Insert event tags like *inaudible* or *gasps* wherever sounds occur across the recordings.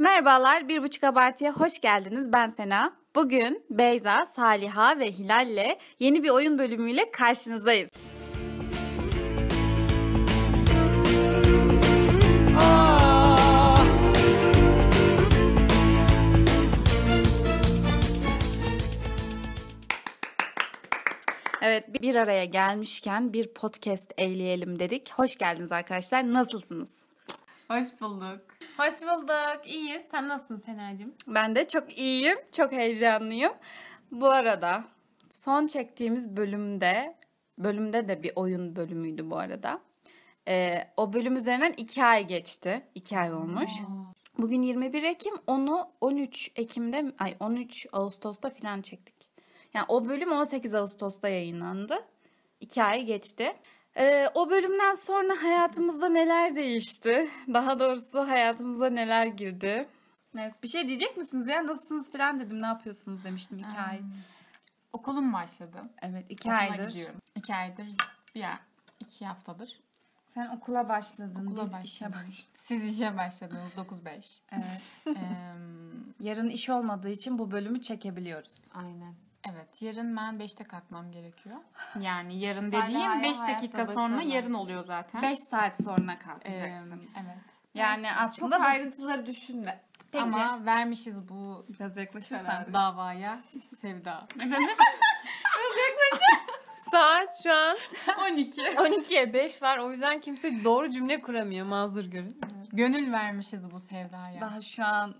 Merhabalar, Bir Buçuk Abartı'ya hoş geldiniz. Ben Sena. Bugün Beyza, Saliha ve Hilal'le yeni bir oyun bölümüyle karşınızdayız. Evet, bir araya gelmişken bir podcast eğleyelim dedik. Hoş geldiniz arkadaşlar. Nasılsınız? Hoş bulduk. Hoş bulduk. İyiyiz. Sen nasılsın Senacığım? Ben de çok iyiyim, çok heyecanlıyım. Bu arada son çektiğimiz bölümde, bölümde de bir oyun bölümüydü bu arada. Ee, o bölüm üzerinden iki ay geçti. iki ay olmuş. Bugün 21 Ekim, onu 13 Ekim'de, mi- ay 13 Ağustos'ta filan çektik. Yani o bölüm 18 Ağustos'ta yayınlandı. İki ay geçti. Ee, o bölümden sonra hayatımızda neler değişti? Daha doğrusu hayatımıza neler girdi? Neyse, bir şey diyecek misiniz ya? Nasılsınız falan dedim. Ne yapıyorsunuz demiştim iki ay. Okulum başladı. Evet iki Okula aydır. gidiyorum. İki aydır. Bir ay. iki haftadır. Sen okula başladın. Okula biz işe başladım. başladık. Siz işe başladınız 9-5. Evet. Eee, Yarın iş olmadığı için bu bölümü çekebiliyoruz. *laughs* Aynen. Evet yarın ben 5'te kalkmam *laughs* gerekiyor. Yani yarın Saliha'ya dediğim 5 hayatta dakika sonra başarılar. yarın oluyor zaten. 5 saat sonra Eee, kalkacaksın. evet. yani aslında çok ayrıntıları düşünme. Peki. Ama vermişiz bu biraz yaklaşırsan Kararı. davaya sevda. *laughs* Saat şu an 12. *laughs* 12'ye 5 var. O yüzden kimse doğru cümle kuramıyor. Mazur görün. Gönül vermişiz bu sevdaya. Daha şu an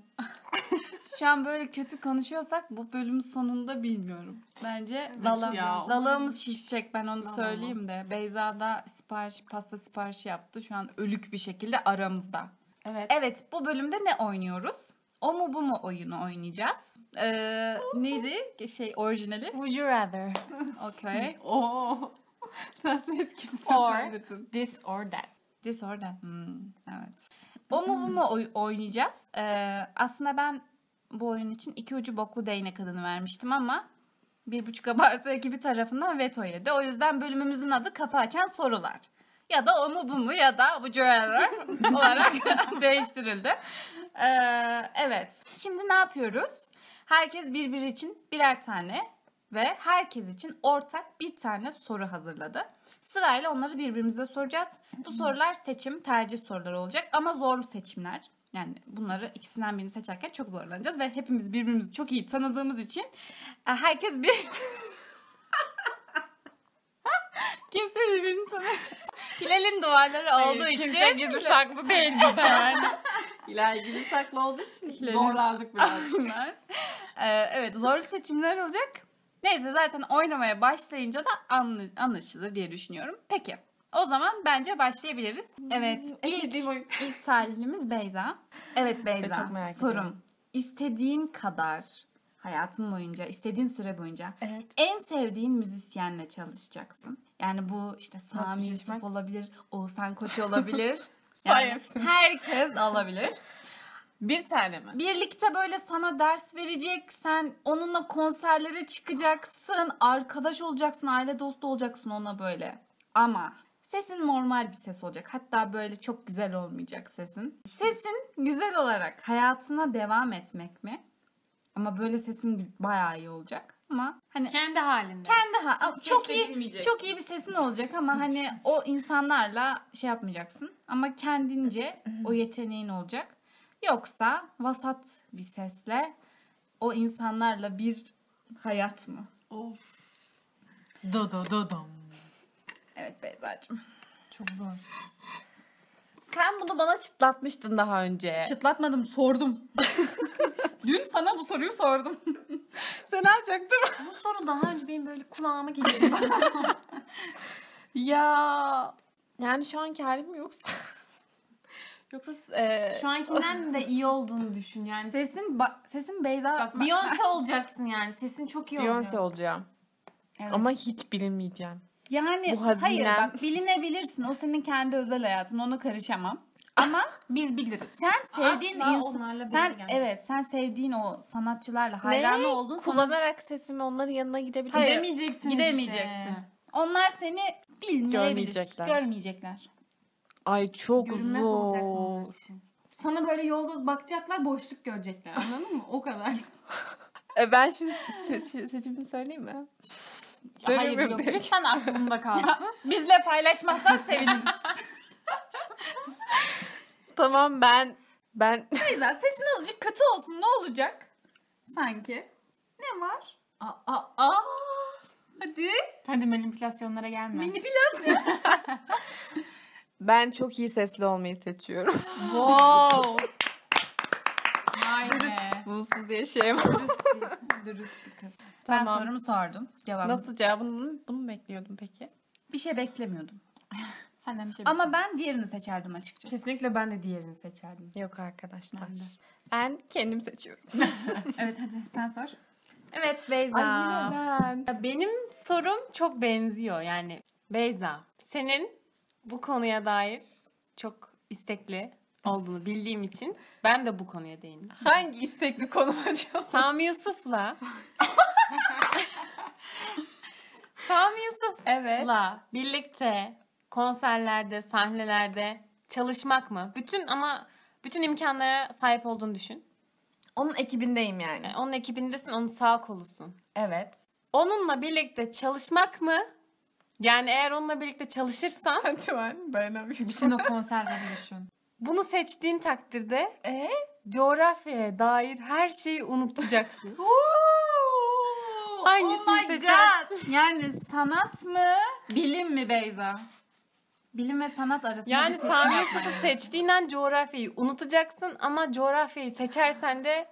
*laughs* şu an böyle kötü konuşuyorsak bu bölümün sonunda bilmiyorum. Bence dalağımız, ya. dalağımız şişecek ben onu Dalağım. söyleyeyim de. Beyza da sipariş, pasta siparişi yaptı. Şu an ölük bir şekilde aramızda. Evet. Evet bu bölümde ne oynuyoruz? O mu bu mu oyunu oynayacağız. Ee, neydi şey *laughs* orijinali? Would you rather? Okay. Oo. Transnet kimse Or. This or that. This or that. Hmm, evet. O mu bu mu oy- oynayacağız? Ee, aslında ben bu oyun için iki ucu boklu değnek adını vermiştim ama bir buçuk abartı ekibi tarafından veto yedi. O yüzden bölümümüzün adı kafa açan sorular. Ya da o mu bu mu ya da bu cüveler olarak *laughs* değiştirildi. Ee, evet. Şimdi ne yapıyoruz? Herkes birbiri için birer tane ve herkes için ortak bir tane soru hazırladı. Sırayla onları birbirimize soracağız. Bu sorular seçim, tercih soruları olacak ama zorlu seçimler. Yani bunları ikisinden birini seçerken çok zorlanacağız ve hepimiz birbirimizi çok iyi tanıdığımız için e, herkes bir... *laughs* Kimse birbirini tanımıyor. Hilal'in duvarları olduğu için *laughs* saklı değil bizden. İlay gibi saklı olduğu için Zorlandık biraz. *laughs* Bunlar. Ee, evet zorlu seçimler olacak. Neyse zaten oynamaya başlayınca da anlı- anlaşılır diye düşünüyorum. Peki o zaman bence başlayabiliriz. Evet Hmm, Ah. ilk, istediğim oyun. ilk talihimiz Beyza. Evet Beyza çok merak sorum. ediyorum. İstediğin kadar hayatın boyunca, istediğin süre boyunca Evet. en sevdiğin müzisyenle çalışacaksın. Yani bu işte Sami şey Yusuf seçmek? olabilir, Oğuzhan Koç olabilir. *laughs* Say yani hepsini. herkes olabilir. Bir tane mi? Birlikte böyle sana ders verecek, sen onunla konserlere çıkacaksın, arkadaş olacaksın, aile dostu olacaksın ona böyle. Ama sesin normal bir ses olacak. Hatta böyle çok güzel olmayacak sesin. Sesin güzel olarak hayatına devam etmek mi? Ama böyle sesin gü- bayağı iyi olacak. Ama hani Kendi halinde. kendi ha Aa, çok Keşke iyi bilmeyeceksin. çok iyi bir sesin olacak ama hani o insanlarla şey yapmayacaksın. Ama kendince o yeteneğin olacak. Yoksa vasat bir sesle o insanlarla bir hayat mı? Of. Do do do dom. Evet Beyza'cığım. Çok zor. Sen bunu bana çıtlatmıştın daha önce. Çıtlatmadım sordum. *laughs* Dün sana bu soruyu sordum. *laughs* Sen alacaktım. Bu soru daha önce benim böyle kulağıma geliyordu. ya. Yani şu anki halim mi yoksa? *laughs* yoksa e, Şu ankinden de iyi olduğunu düşün yani. Sesin, ba- sesin Beyza. Beyoncé olacaksın yani. Sesin çok iyi Beyoncé olacak. olacağım. Evet. Ama hiç bilinmeyeceğim. Yani Bu hazinem. hayır bak bilinebilirsin. O senin kendi özel hayatın. Ona karışamam. Ama biz biliriz. Ah. Sen sevdiğin Asla insan onlarla bir sen yere gelmeyecek. evet sen sevdiğin o sanatçılarla hayranı Ve olduğun sana Kullanarak sesimi onların yanına gidebilirim. Hayır. Gidemeyeceksin gidemeyeceksin. işte. Onlar seni bilmeyebilir. Görmeyecekler. Görmeyecekler. Ay çok Görünmez olacaksın onlar zor. için. Sana böyle yolda bakacaklar boşluk görecekler anladın mı? O kadar. E, ben şimdi se- se- seçimimi söyleyeyim mi? Hayır Söyleyeyim yok. mi? Lütfen Bunda kalsın. bizle paylaşmazsan seviniriz. *laughs* Tamam ben ben Beyza sesin azıcık kötü olsun ne olacak? Sanki. Ne var? Aa, aa, aa. Hadi. Hadi manipülasyonlara gelme. ben çok iyi sesli olmayı seçiyorum. Wow. Vay be. Bunsuz yaşayamam. Dürüst bir kız. Ben Tamam. sorumu sordum. Cevabı. Nasıl cevabını bunu mu bekliyordum peki? Bir şey beklemiyordum. Senden bir şey Ama ben diğerini seçerdim açıkçası. Kesinlikle ben de diğerini seçerdim. Yok arkadaşlar. Ben kendim seçiyorum. *laughs* evet hadi sen sor. Evet Beyza. Ay yine ben. Ya Benim sorum çok benziyor yani Beyza. Senin bu konuya dair çok istekli olduğunu bildiğim için ben de bu *laughs* konuya değindim. Hangi istekli konum acaba? Sami Yusuf'la Sami Yusuf'la *laughs* Evet. birlikte konserlerde, sahnelerde çalışmak mı? Bütün ama bütün imkanlara sahip olduğunu düşün. Onun ekibindeyim yani. Yani onun ekibindesin, onun sağ kolusun. Evet. Onunla birlikte çalışmak mı? Yani eğer onunla *laughs* birlikte çalışırsan Hadi ben dayanamıyorum. Bütün o konserleri düşün. bunu seçtiğin takdirde e, coğrafyaya dair her *laughs* şeyi unutacaksın. Hangisini oh my seçersin? God. Yani sanat mı, bilim mi Beyza? Bilim ve sanat arasında yani bir seçim Sami yapman Yusuf'u lazım. seçtiğin an coğrafyayı unutacaksın ama coğrafyayı seçersen de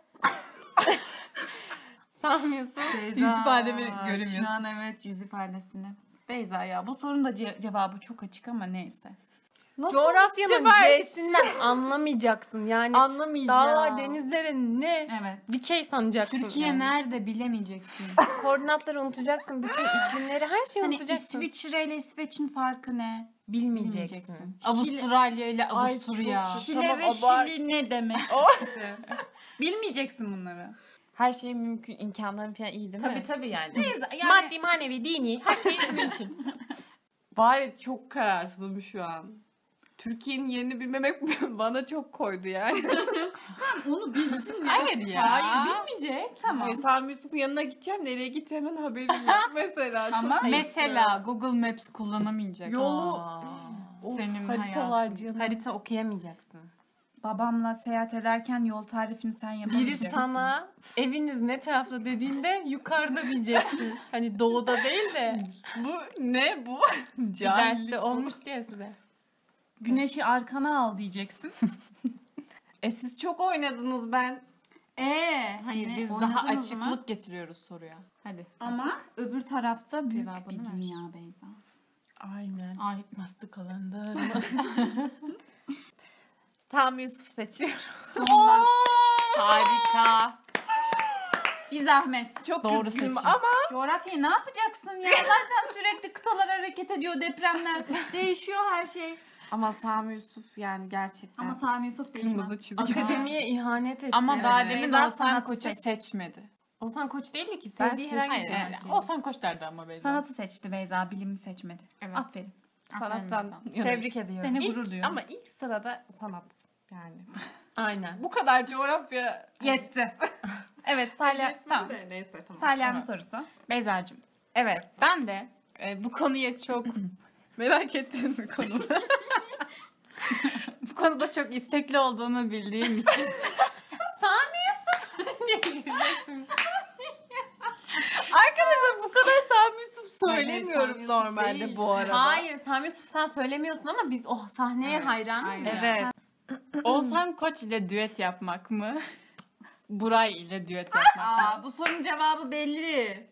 Sami Yusuf Beyza, Yüz ifademi göremiyorsun. Şu an evet yüz ifadesini. Beyza ya bu sorunun da ce- cevabı çok açık ama neyse. Nasıl coğrafyanın unutacağım? *laughs* C'sinden anlamayacaksın. Yani Anlamayacağım. dağlar, denizlerin ne? Evet. Dikey sanacaksın. Türkiye yani. nerede bilemeyeceksin. Koordinatları unutacaksın. Bütün iklimleri her şeyi hani unutacaksın. İsviçre ile İsveç'in farkı ne? Bilmeyeceksin. Bilmeyeceksin. Avustralya ile Ay, Avusturya. çok- Şile tamam, ve abart- Şili ne demek? Bilmeyeceksin bunları. Her şey mümkün. imkanların falan iyi değil mi? tabii yani. Beyza yani Maddi, manevi, dini her şey *laughs* mümkün. Bari çok kararsızım şu an. Türkiye'nin yerini bilmemek *laughs* bana çok koydu yani. onu bilsin ya. Hayır ya. Hayır bilmeyecek. Tamam. Ay, Sami Yusuf'un yanına gideceğim. Nereye gideceğimin haberim *laughs* yok mesela. Çok Ama ayıp ya. Mesela Google Maps kullanamayacak. Yolu- Of, Senin haritalar canım. Harita okuyamayacaksın. Babamla seyahat ederken yol tarifini sen yapamayacaksın. Biri sana eviniz ne tarafta dediğinde *laughs* yukarıda diyeceksin. hani doğuda değil de Bu ne bu? *laughs* bir derste olmuş diye size. Güneşi arkana al diyeceksin. E siz çok oynadınız ben. Ee, hani Eee Hayır biz daha açıklık getiriyoruz soruya. Hadi. Ama öbür tarafta büyük Cevabını bir ver. dünya Beyza. Aynen. Ay nasıl *laughs* kalender. Sami Yusuf seçiyorum. Harika. Bir zahmet. Çok Doğru üzgünüm seçim. ama Coğrafyayı ne yapacaksın ya? Zaten sürekli kıtalar hareket ediyor, depremler değişiyor her şey. ama Sami Yusuf yani gerçekten Ama Sami Yusuf değişmez. kırmızı çizgi. Akademiye ihanet etti. Ama daha Evet. demin Beyza Oğuzhan sanatı Koç'u seç. seçmedi. Oğuzhan Koç değildi ki. Ben Sevdiği siz- herhangi Hayır bir yani. sanatçı. Oğuzhan Koç derdi ama Beyza. Sanatı seçti Beyza, bilimi seçmedi. Evet. Aferin. sanattan Tebrik ediyorum. Seni İlk- gurur duyuyorum. Ama ilk sırada sanat. yani. Aynen. Bu kadar coğrafya *laughs* Yetti. evet Salya. tamam. de neyse tamam. Salya'nın sorusu. Beyza'cığım. Evet. Ben de e, bu konuya çok *laughs* Merak ettin mi konumu? *laughs* bu konuda çok istekli olduğunu *laughs* bildiğim için Arkadaşlar bu kadar Sami Yusuf söylemiyorum söylemiyorum normalde değil. bu arada. Hayır Sami Yusuf sen söylemiyorsun ama biz o sahneye Evet, hayranız aynen. ya. Evet. Oğuzhan Koç ile düet yapmak mı? Buray ile düet yapmak mı? Aa, bu sorunun cevabı belli.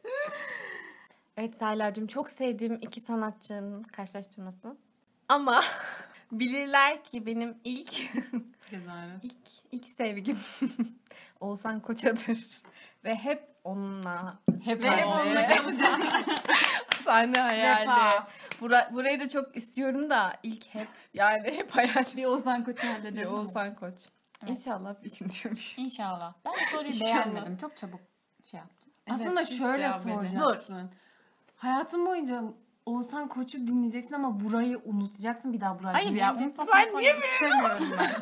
Evet Sayla'cığım çok sevdiğim iki sanatçının karşılaştırması. Ama *laughs* bilirler ki benim ilk Güzel. ilk ilk sevgim *laughs* Oğuzhan Koça'dır. *laughs* Ve hep onunla Hep ve hep onunla öyle. çalacağım. *laughs* Sahne hayali. Vefa. Bura- burayı da çok istiyorum da ilk hep yani hep hayal Bir Ozan Koç'u halledelim. bir mi? Oğuzhan Koç. İnşallah bir şey. gün diyormuş. İnşallah. Ben bu soruyu İnşallah. beğenmedim. Çok çabuk şey yaptım. Evet, Aslında hiç şöyle cevap soracaksın. Hayatım boyunca Oğuzhan Koç'u dinleyeceksin ama burayı unutacaksın. Bir daha burayı Hayır, *laughs* dinleyeceksin. dinleyeceksin. Sen niye istemiyorum ben.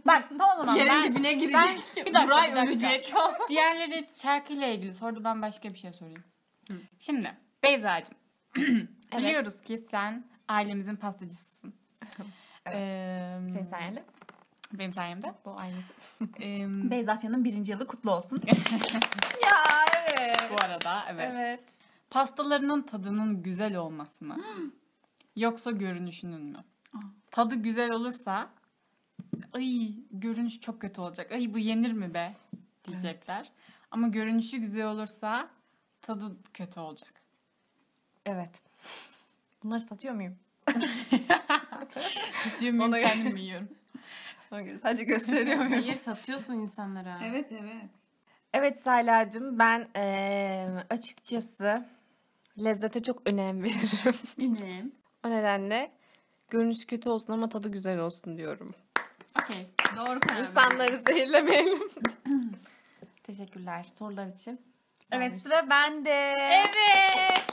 *laughs* Bak tamam o zaman Yerin ben dibine ben- girecek. *laughs* bir dakika, Buray bir dakika. ölecek. *laughs* diğerleri şarkıyla ilgili sordu ben başka bir şey sorayım. Şimdi Beyza'cığım *clears throat* Evet. biliyoruz ki sen ailemizin pastacısısın. Evet. Ee, Senin sayende. benim sayemde. Bu aynısı. Ee, Beyza Akya'nın birinci yılı kutlu olsun. Ya evet. bu arada evet. Evet. Pastalarının tadının güzel olması *gasps* mı? Yoksa görünüşünün mü? Tadı güzel olursa ay görünüş çok kötü olacak. Ay bu yenir mi be diyecekler. Ama görünüşü güzel olursa tadı kötü olacak. Evet. Bunları satıyor muyum? Satıyor muyum Ona- kendim mi yiyorum? Ona göre Sadece gösteriyor muyum? Hayır satıyorsun insanlara. Evet evet. Evet Sayla'cığım ben eee, açıkçası lezzete çok önem veririm. Bilmiyorum. *laughs* o nedenle görünüş kötü olsun ama tadı güzel olsun diyorum. Okey. Doğru karar. İnsanları zehirlemeyelim. *laughs* Teşekkürler sorular için. Evet sıra bende. Evet.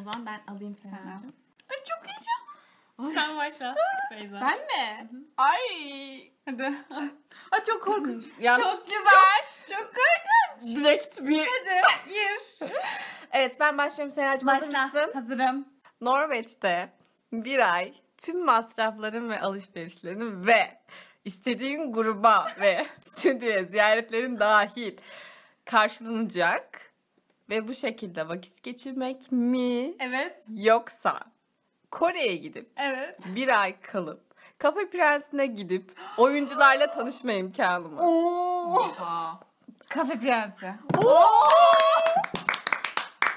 O zaman ben alayım seni. Sen başla Beyza. Ben mi? Ay. Hadi. Ay çok *laughs* korkunç. Ya, Çok güzel. Direkt bir... Gir. Evet ben başlıyorum Seyra'cığım. Başla. Hazırım. Norveç'te bir ay tüm masrafların ve alışverişlerin ve istediğin gruba ve *laughs* stüdyoya ziyaretlerin dahil karşılanacak ve bu şekilde vakit geçirmek mi Evet. yoksa Kore'ye gidip Evet. bir ay kalıp Kafe Prensi'ne gidip oyuncularla tanışma imkanı mı? Kafe prensi.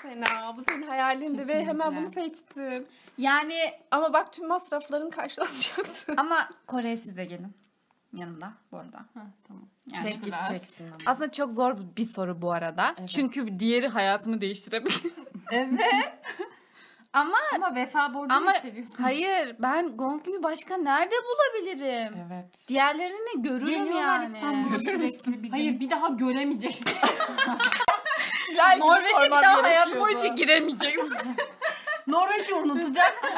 Fena bu senin hayalindi ve hemen bunu seçtin. Yani Ama bak tüm masrafların karşılanacaksın. ama Kore'ye siz de gelin. Yanımda bu arada. tamam. Yani gideceksin. Aslında çok zor bir soru bu arada. Çünkü diğeri hayatımı değiştirebilir. Ama Ama vefa borcunu Ama- seviyorsun. hayır ben Gonggu'yu başka nerede bulabilirim? Evet. Diğerlerini görürüm Geliyorlar yani. İstanbul'a sürekli bir gün. Hayır bir daha göremeyecek. Norveç'e bir daha hayat gerekiyordu. boyunca giremeyeceksin. Norveç'i unutacaksın.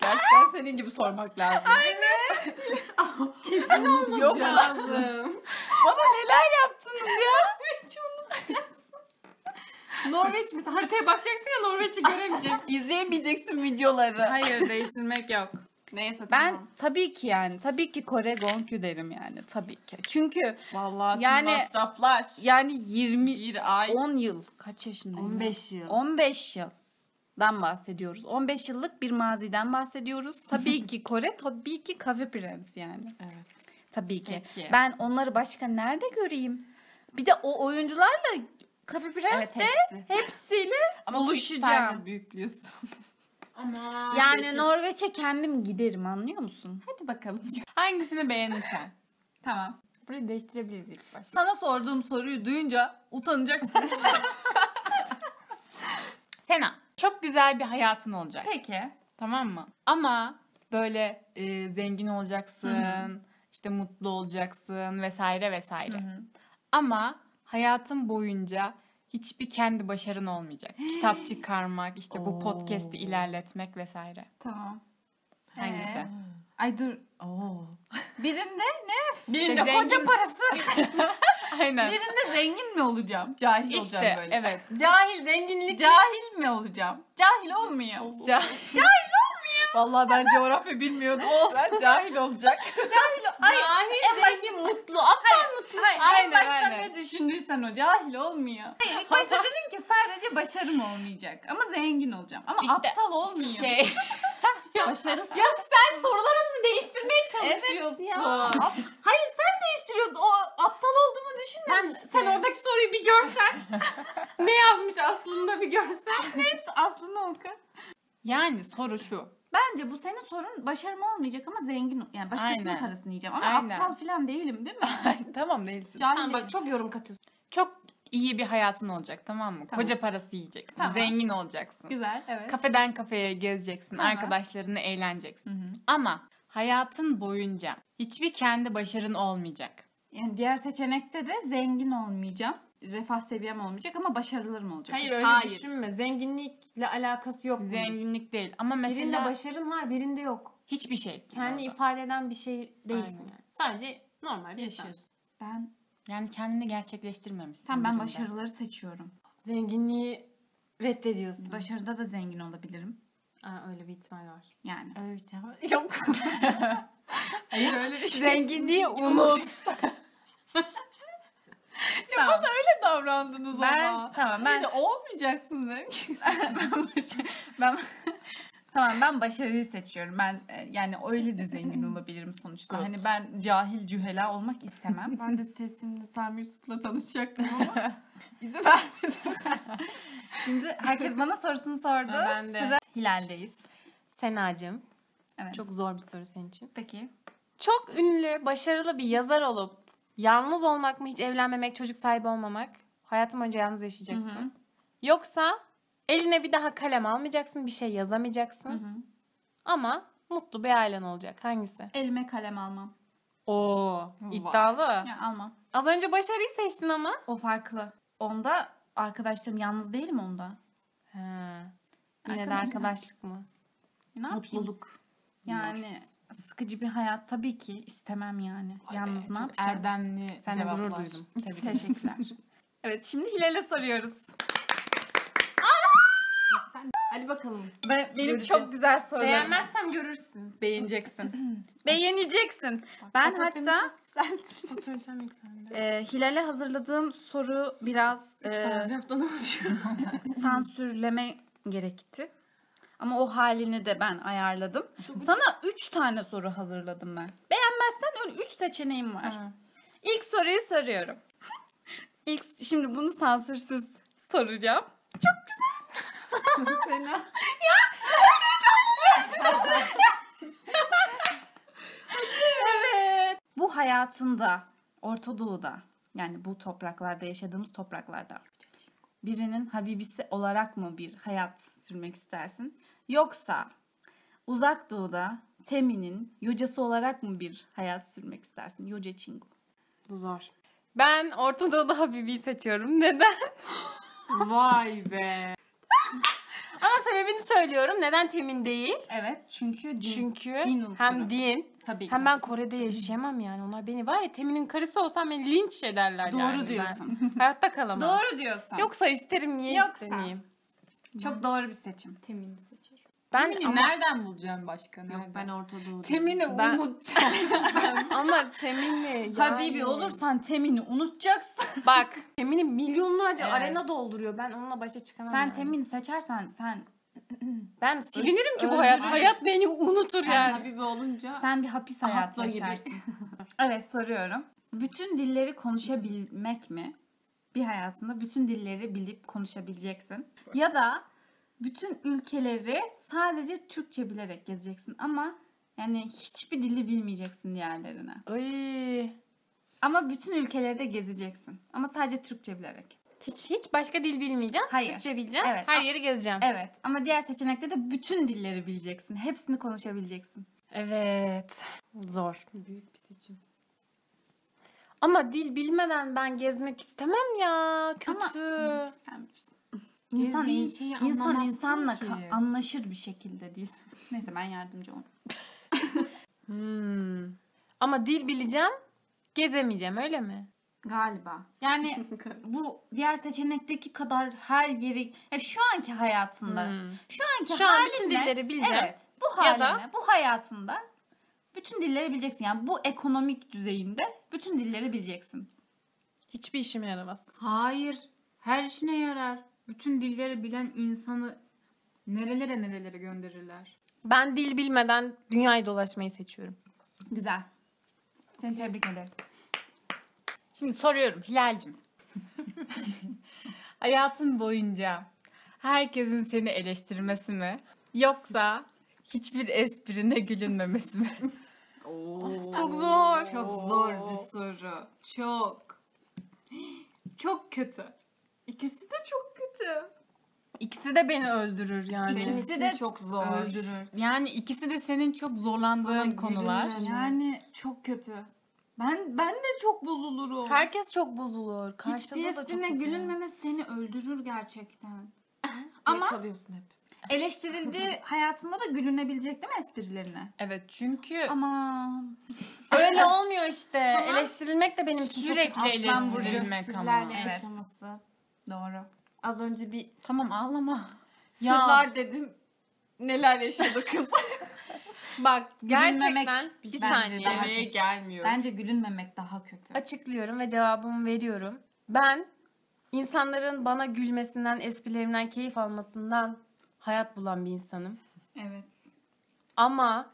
Gerçekten senin gibi sormak lazım. Aynen. Kesin Yok lazım. Bana neler yaptınız ya? Norveç mesela haritaya bakacaksın ya Norveç'i göremeyeceksin. İzleyemeyeceksin videoları. Hayır değiştirmek yok. Neyse Ben tamam. tabii ki yani tabii ki Kore Gongyu derim yani tabii ki. Çünkü Vallahi Yani- yani, masraflar. yani 20 Bir ay. 10 yıl kaç yaşındayım? 15 yıl. 15 yıldan bahsediyoruz. 15 yıllık bir maziden bahsediyoruz. Tabii ki Kore, tabii ki Cafe Prince yani. Evet. Tabii ki. Peki. Ben onları başka nerede göreyim? Bir de o oyuncularla Cafe Prince'de *laughs* hepsiyle Ama Buluşacağım. Buluşacağım. büyüklüyorsun. Ama yani Norveç'e kendim giderim anlıyor musun? Hadi bakalım. hangisini beğendin sen? Tamam. Burayı değiştirebiliriz ilk başta. Sana sorduğum soruyu duyunca utanacaksın. Sena, çok güzel bir hayatın olacak. *laughs* Peki. Tamam mı? Ama böyle e, zengin olacaksın, işte mutlu olacaksın vesaire vesaire. Ama hayatın boyunca hiçbir kendi başarın olmayacak. Kitap çıkarmak, işte bu podcast'i ilerletmek vesaire. Tamam. Hangisi? Ee? Ay dur. Oo. Birinde Birinde koca parası, *laughs* Aynen. birinde zengin mi olacağım? Cahil İşte olacağım böyle. *laughs* evet. Cahil zenginlik. Cahil mi olacağım? Cahil olmayayım. Ca- Vallahi ben coğrafya bilmiyordum. Ben cahil olacak. Cahil en başta mutlu. Aptal mutlusun. Aynen, en başta aynen. ne düşünürsen o cahil olmuyor. Hayır ilk başta dedin ki sadece başarım olmayacak. Ama zengin olacağım. Ama İşte aptal olmuyor. şey. Başarısız. Ya sen sorularımızı değiştirmeye çalışıyorsun. Hayır sen değiştiriyorsun. O aptal olduğumu düşünmemiştin. sen oradaki soruyu bir *laughs* görsen. ne yazmış aslında bir görsen. Neyse aslında oku. Yani soru şu. Bence bu senin sorun başarım olmayacak ama zengin yani başkasının Aynen. parasını yiyeceğim ama Aynen. aptal falan değilim değil mi? *laughs* tamam değilsin. Cahil Tamam değilim. bak çok yorum katıyorsun. Çok iyi bir hayatın olacak tamam mı? Tamam. Koca parası yiyeceksin. Tamam. Zengin olacaksın. Güzel evet. Kafeden kafeye gezeceksin. Tamam. Arkadaşlarını eğleneceksin. Hı hı. Ama hayatın boyunca hiçbir kendi başarın olmayacak. Yani diğer seçenekte de zengin olmayacağım. refah seviyem olmayacak ama başarılarım olacak. Hayır öyle Hayır. düşünme. Zenginlikle alakası yok. bunun. Zenginlik değil. Ama mesela Birinde başarın var birinde yok. hiçbir şey. Kendi ifade eden bir şey değilsin. Aynen. Yani. Sadece normal bir insan. yaşıyorsun. Ben Yani kendini gerçekleştirmemişsin. sen ben birinde. başarıları seçiyorum. Zenginliği reddediyorsun. Başarıda da zengin olabilirim. Aa, öyle bir ihtimal var. Yani. Öyle bir ihtimal yok. *laughs* Hayır öyle bir şey. Zenginliği unut. *laughs* tamam. Ne davrandınız Ben ama? tamam Ben... ben de olmayacaksın zengin. ben başa- ben tamam ben başarıyı seçiyorum. Ben e, yani öyle de *laughs* zengin olabilirim sonuçta. Good. Hani ben cahil cühela olmak istemem. Ben de sesimle Sami Yusuf'la tanışacaktım *laughs* ama izin vermedi. Şimdi herkes bana sorusunu sordu. Ben de. Sıra Hilal'deyiz. Senacığım. Evet. Çok zor bir soru senin için. Peki. Çok ünlü, başarılı bir yazar olup yalnız olmak mı, hiç evlenmemek, çocuk sahibi olmamak? Hayatım boyunca yalnız yaşayacaksın. Hı hı. Yoksa eline bir daha kalem almayacaksın, bir şey yazamayacaksın. Hı hı. Ama mutlu bir ailen olacak. Hangisi? Elime kalem almam. Oo, iddialı. Ya almam. Az önce başarıyı seçtin ama. O farklı. Onda arkadaşlarım yalnız değilim onda. Ha. Yine de Arkadaşlar. arkadaşlık mı? Ne yapayım? Mutluluk. Yani sıkıcı bir hayat tabii ki istemem yani. Vay be, Yalnız ne çok yapacağım? Erdemli Sen de cevaplar. gurur duydum. Tabii ki. *laughs* Teşekkürler. evet şimdi Hilal'e soruyoruz. Hadi bakalım. Ve benim çok güzel sorularım. Beğenmezsem görürsün. Beğeneceksin. Beğeneceksin. Ben hatta Otoritem yükseldi. e, Hilal'e hazırladığım soru biraz e, Paragraftan oluşuyor. sansürleme gerekti. Ama o halini de ben ayarladım. Sana 3 tane soru hazırladım ben. Beğenmezsen öyle 3 seçeneğim var. Tamam. İlk soruyu soruyorum. *laughs* İlk şimdi bunu sansürsüz soracağım. Sena. Bu hayatında Orta Doğu'da yani bu topraklarda yaşadığımız topraklarda birinin habibisi olarak mı bir hayat sürmek istersin? Yoksa uzak doğuda Temi'nin yocası olarak mı bir hayat sürmek istersin? Yoca Çingu. Bu zor. Ben Orta Doğu'da Habibi'yi seçiyorum. *laughs* Neden? Vay be. Ama sebebini söylüyorum. Neden temin değil? Evet çünkü Çünkü din unsuru. hem din tabii ki. hem ben Kore'de yaşayamam yani. Onlar beni var ya Temin'in karısı olsam beni linç ederler Doğru yani. Ben diyorsun. *laughs* *laughs* hayatta kalamam. Doğru diyorsun. Yok Yoksa isterim niye Yoksa. istemeyeyim? çok doğru bir seçim. Temin'i seçerim. Ben Temin'i ama, nereden bulacağım başka? Yok Nereden? ben Orta Doğu'da. Temin'i Ben- unutacağım. *laughs* ama *laughs* Temin'i Habibi olursan Temin'i unutacaksın. Bak *laughs* Temin'i milyonlarca Evet. arena dolduruyor. Ben onunla başa çıkamam. Sen yani. Temin'i seçersen sen Ben silinirim ki bu Öldürürüz. hayat. Hayat beni unutur yani yani. Habibi olunca sen bir hapis Rahatla hayatı gibi. yaşarsın. *laughs* evet soruyorum. Bütün dilleri konuşabilmek mi? Bir hayatında bütün dilleri bilip konuşabileceksin. Ya da bütün ülkeleri sadece Türkçe bilerek gezeceksin ama yani hiçbir dili bilmeyeceksin diğerlerine. Ay. Ama bütün ülkeleri de gezeceksin. Ama sadece Türkçe bilerek. Hiç hiç başka dil bilmeyeceğim. Hayır. Türkçe bileceğim. Evet. Her yeri gezeceğim. Evet ama diğer seçenekte de bütün dilleri bileceksin. Hepsini konuşabileceksin. Evet. e- Zor. büyük bir seçim. Ama dil bilmeden ben gezmek istemem ya. Ama- Kötü. Sen bilirsin. İnsan, Gezdiğin in- şeyi insan anlamazsın insanla ki. ka- anlaşır bir şekilde değil. *laughs* Neyse ben yardımcı olurum. Hmm. Ama dil bileceğim. Gezemeyeceğim öyle mi? Galiba. Yani bu diğer seçenekteki kadar her yeri ya şu anki hayatında. Hmm. Şu anki Şu an bütün halinle- dilleri bileceğim. Evet. Bu Ya haline, da- bu hayatında bütün dilleri bileceksin. Yani bu ekonomik düzeyinde bütün dilleri bileceksin. Hiçbir işime yaramaz. Hayır. Her işine yarar. Bütün dilleri bilen insanı nerelere nerelere gönderirler. Ben dil bilmeden dünyayı dolaşmayı seçiyorum. Güzel. Seni tebrik ederim. Şimdi soruyorum Hilal'cim. *laughs* Hayatın boyunca herkesin seni eleştirmesi mi? Yoksa hiçbir esprine gülünmemesi *laughs* mi? Çok zor. Çok zor bir soru. Çok. Çok kötü. İkisi de çok kötü. İkisi de beni öldürür yani. Senin İkisi için de çok zor. öldürür. Yani ikisi de senin çok zorlandığın Sana konular. gülünmeme. Yani çok kötü. Ben ben de çok bozulurum. Herkes çok bozulur. Karşılığı da çok Hiçbirisine bozulur. gülünmemesi seni öldürür gerçekten. Ama Ama kalıyorsun hep. eleştirildiği hayatında da gülünebilecek değil mi esprilerine? Evet çünkü Aman. Öyle olmuyor işte. Tamam. Eleştirilmek de benim için Sürekli çok Aslan Burcu eleştirilmek ama. sinirlerle Evet. yaşaması. Doğru. Az önce bir tamam ağlama. Ya. Sırlar dedim. Neler yaşadı kız. *laughs* Bak gerçekten Gülmemek bir bence saniye. daha- Demeye gelmiyor. bence gülünmemek daha kötü. Açıklıyorum ve cevabımı veriyorum. Ben insanların bana gülmesinden, esprilerimden keyif almasından hayat bulan bir insanım. Evet. Ama